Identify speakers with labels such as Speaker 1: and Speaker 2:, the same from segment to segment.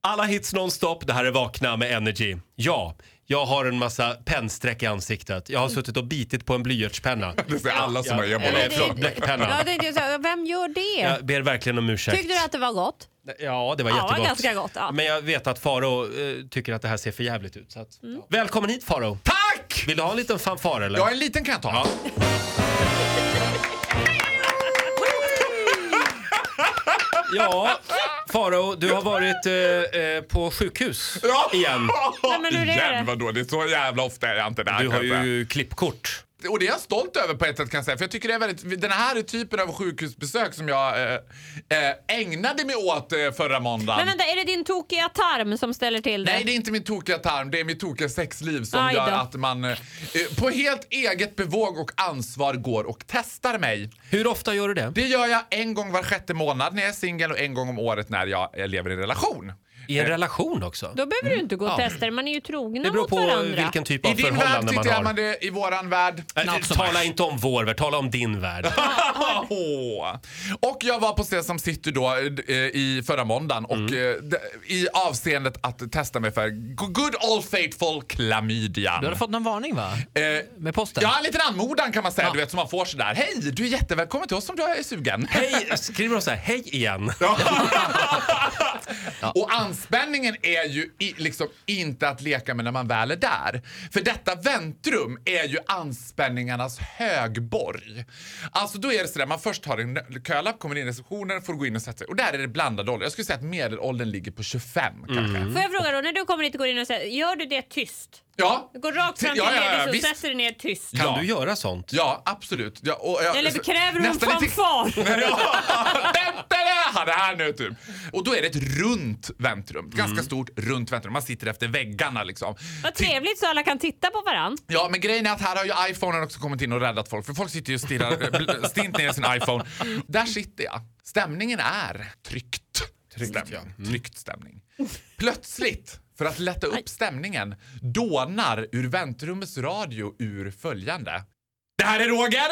Speaker 1: Alla hits nonstop, det här är Vakna med Energy. Ja, jag har en massa pennstreck i ansiktet. Jag har suttit och bitit på en blyertspenna.
Speaker 2: Det är alla som
Speaker 1: Ja,
Speaker 2: har jobbat
Speaker 1: Eller
Speaker 2: med
Speaker 1: förlåt, bläckpenna.
Speaker 3: Ja, det, det, så- vem gör det?
Speaker 1: Jag ber verkligen om ursäkt.
Speaker 3: Tyckte du att det var gott?
Speaker 1: Ja, det var
Speaker 3: Ja,
Speaker 1: jättegott.
Speaker 3: ganska gott, ja.
Speaker 1: Men jag vet att Faro eh, tycker att det här ser för jävligt ut. Så att,
Speaker 3: Mm.
Speaker 1: ja. Välkommen hit Faro.
Speaker 2: Tack!
Speaker 1: Vill du ha en liten fanfar eller?
Speaker 2: Ja, en liten kan jag ta.
Speaker 1: Ja, Faro, du har varit eh, eh, på sjukhus
Speaker 2: Ja.
Speaker 1: igen.
Speaker 3: Nej, men hur är det?
Speaker 2: Igen vadå? Det är så jävla ofta är jag inte där.
Speaker 1: Du har
Speaker 2: kan jag
Speaker 1: ju klippkort.
Speaker 2: säga. Och det är jag stolt över på ett sätt kan jag säga. För jag tycker det är väldigt, den här typen av sjukhusbesök som jag eh, eh, ägnade mig åt eh, förra måndagen.
Speaker 3: Men vänta, är det din tokiga tarm som ställer till det?
Speaker 2: Nej, det är inte min tokiga tarm, det är mitt tokiga sexliv som
Speaker 3: Aj då.
Speaker 2: gör att man eh, eh, på helt eget bevåg och ansvar går och testar mig.
Speaker 1: Hur ofta gör du det?
Speaker 2: Det gör jag en gång var sjätte månad när jag är singel och en gång om året när jag eh, lever i en relation.
Speaker 1: I en relation också?
Speaker 3: Då behöver du inte gå och testa det, man är ju trogna
Speaker 1: Det beror
Speaker 3: mot
Speaker 1: på
Speaker 3: varandra.
Speaker 1: vilken typ av
Speaker 2: I din värld
Speaker 1: förhållande man
Speaker 2: tycker jag man
Speaker 1: har.
Speaker 2: det, i våran värld.
Speaker 1: Äh, Tala inte om vår värld, tala om din värld.
Speaker 2: Åh. Och jag var på Sesam City då eh, i förra måndagen och
Speaker 1: Mm.
Speaker 2: eh, d- i avseendet att testa mig för good old faithful klamydia.
Speaker 4: Du hade fått någon varning va?
Speaker 2: Eh,
Speaker 4: Med posten?
Speaker 2: Ja, en liten anmodan kan man säga, du vet som man får sådär. Hej, du är jättevälkommen till oss om du är sugen.
Speaker 1: Hej, skriver de så här, hej igen.
Speaker 2: Och anspänningen är ju i, liksom inte att leka med när man väl är där. För detta väntrum är ju anspänningarnas högborg. Alltså då är det sådär, man först har en nö- kölapp, kommer in i receptionen, får gå in och sätta sig. Och där är det blandad ålder. Jag skulle säga att medelåldern ligger på 25 kanske.
Speaker 3: Får jag fråga då, när du kommer dit och går in och säger, gör du det tyst?
Speaker 2: Ja.
Speaker 3: Du går rakt fram till
Speaker 2: Ja, ja, ja,
Speaker 3: Levis och
Speaker 2: visst.
Speaker 3: sätter dig ner tyst.
Speaker 1: Kan
Speaker 2: Ja.
Speaker 1: du göra sånt?
Speaker 2: Ja, absolut. Ja, och, jag-
Speaker 3: Eller kräver du en
Speaker 2: nästan lite-
Speaker 3: fanfar?
Speaker 2: Ja, vänta det här, det här nu typ. Och då är det ett runt väntrum. Ganska stort runt väntrum. Man sitter efter väggarna liksom.
Speaker 3: Vad trevligt så alla kan titta på varandra.
Speaker 2: Ja, men grejen är att här har ju iPhonen också kommit in och räddat folk. För folk sitter ju och stirrar eh, bl- stint ner i sin iPhone. Där sitter jag. Stämningen är tryckt. Tryckt, stämning. tryckt stämning. Plötsligt, för att lätta upp stämningen, dånar ur väntrummets radio ur följande. Det här är Roger,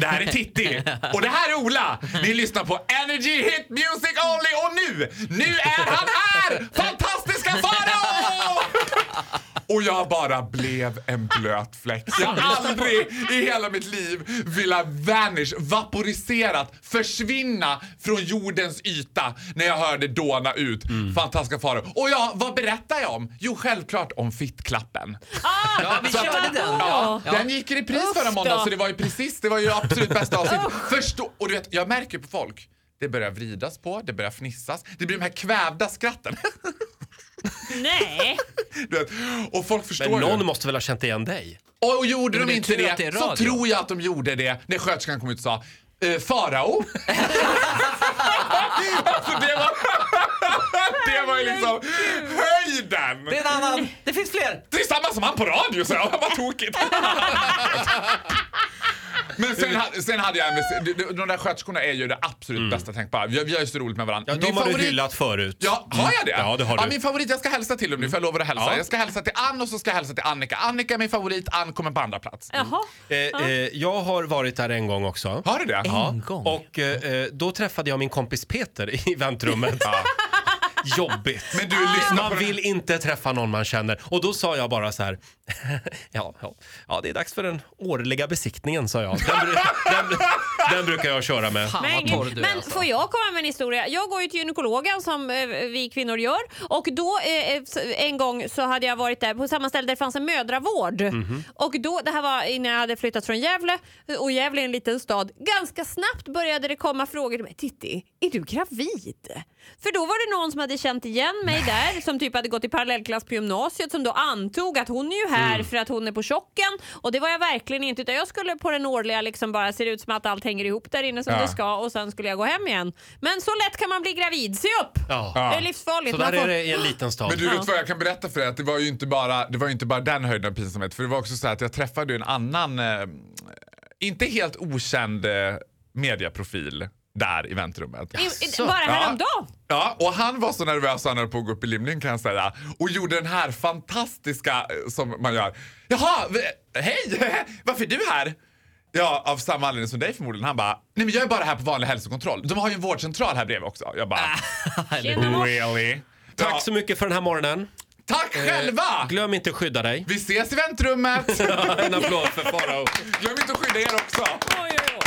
Speaker 2: det här är Titti och det här är Ola. Ni lyssnar på Energy Hit Music Only och nu, nu är han här! Fantastiska Farao! Och jag bara blev en blöt fläck. Jag har aldrig i hela mitt liv velat vanish, vaporiserat, försvinna från jordens yta när jag hörde dåna ut
Speaker 1: Mm.
Speaker 2: fantastiska faror. Och ja, vad berättar jag om? Jo, självklart om fittklappen.
Speaker 4: Ja, vi
Speaker 2: Så att-
Speaker 4: körde den.
Speaker 2: Ja,
Speaker 4: Ja.
Speaker 2: Den gick i repris
Speaker 3: Usch
Speaker 2: förra måndagen
Speaker 3: då.
Speaker 2: så det var ju precis, det var ju absolut bästa avsnitt. Förstå, och du vet, jag märker på folk. Det börjar vridas på, det börjar fnissas. Det blir de här kvävda skratten.
Speaker 3: Nej,
Speaker 2: Du vet, och folk förstår
Speaker 1: Men
Speaker 2: ju.
Speaker 1: någon måste väl ha känt igen dig?
Speaker 2: Och, och gjorde
Speaker 4: Men
Speaker 2: de
Speaker 4: det är
Speaker 2: inte
Speaker 4: tur att det
Speaker 2: det,
Speaker 4: är
Speaker 2: så
Speaker 4: radio.
Speaker 2: tror jag att de gjorde det när sköterskan kom ut och sa eh, Farao. alltså det var... det var ju liksom
Speaker 4: Det
Speaker 2: höjden!
Speaker 4: är en annan. Det finns fler.
Speaker 2: Det är samma som han på radio så jag. Vad tokigt. Men sen, ha- sen hade jag en... de- de- De där sköterskorna är ju det absolut bästa tänkbara. Vi, vi har ju så roligt med varandra.
Speaker 1: Mm. Ja, de
Speaker 2: Min
Speaker 1: har du
Speaker 2: favorit-
Speaker 1: hyllat förut.
Speaker 2: Ja, har jag det?
Speaker 1: Mm. Ja, det har du.
Speaker 2: min favorit, jag ska hälsa till dem nu för jag lovar att hälsa.
Speaker 1: Ja.
Speaker 2: Jag ska hälsa till Ann och så ska jag hälsa till Annika. Annika är min favorit, Ann kommer på andra plats.
Speaker 3: jaha.
Speaker 1: Eh, eh, jag har varit där en gång också.
Speaker 2: Har du det?
Speaker 1: Ja.
Speaker 4: En gång?
Speaker 1: Och eh, eh, då träffade jag min kompis Peter i väntrummet. Jobbigt.
Speaker 2: Men du lyssnar på
Speaker 1: Man
Speaker 2: den-
Speaker 1: vill inte träffa någon man känner. Och då sa jag bara så här. ja, ja, ja, det är dags för den årliga besiktningen, sa jag. Den, bru- den, den brukar jag köra med.
Speaker 4: Fan
Speaker 3: Men,
Speaker 4: vad torr du är
Speaker 3: men
Speaker 4: alltså.
Speaker 3: får jag komma med en historia? Jag går ju till gynekologen som eh, vi kvinnor gör och då eh, eh, en gång så hade jag varit där på samma ställe där det fanns en mödravård
Speaker 4: Mhm.
Speaker 3: och då, det här var innan jag hade flyttat från Gävle och Gävle är en liten stad. Ganska snabbt började det komma frågor till mig. Titti, är du gravid? För då var det någon som hade känt igen mig där som typ hade gått i parallellklass på gymnasiet som då antog att hon är ju här
Speaker 4: Mm.
Speaker 3: för att hon är på chocken och det var jag verkligen inte utan jag skulle på den årliga liksom bara ser ut som att allt hänger ihop där inne som
Speaker 2: Ja.
Speaker 3: det ska och sen skulle jag gå hem igen. Men så lätt kan man bli gravid, se upp!
Speaker 1: Ja.
Speaker 3: Det är livsfarligt.
Speaker 1: Så
Speaker 3: Man
Speaker 1: där
Speaker 3: får...
Speaker 1: är det i en liten stad.
Speaker 2: Men du vet vad jag kan berätta för dig att det var ju inte bara, det var ju inte bara den höjden av pinsamhet. För det var också så här att jag träffade ju en annan, eh, inte helt okänd eh, mediaprofil där i väntrummet.
Speaker 3: I, i, bara häromdagen.
Speaker 2: Ja, och han var så nervös han höll på att gå upp i limningen kan jag säga. Och gjorde den här fantastiska eh, som man gör. Jaha, v- hej! Varför är du här? Ja, av samma anledning som dig förmodligen. Han bara, nej men jag är bara här på vanlig hälsokontroll. De har ju en vårdcentral här bredvid också. Jag bara,
Speaker 3: Tjena, mors.
Speaker 2: really?
Speaker 1: Ah. Tack så mycket Eh, för den här morgonen.
Speaker 2: Tack själva!
Speaker 1: Glöm inte att skydda dig.
Speaker 2: Vi ses i väntrummet!
Speaker 1: En applåd för Farao.
Speaker 2: Glöm inte att skydda er också!
Speaker 3: Oj, oj, oj.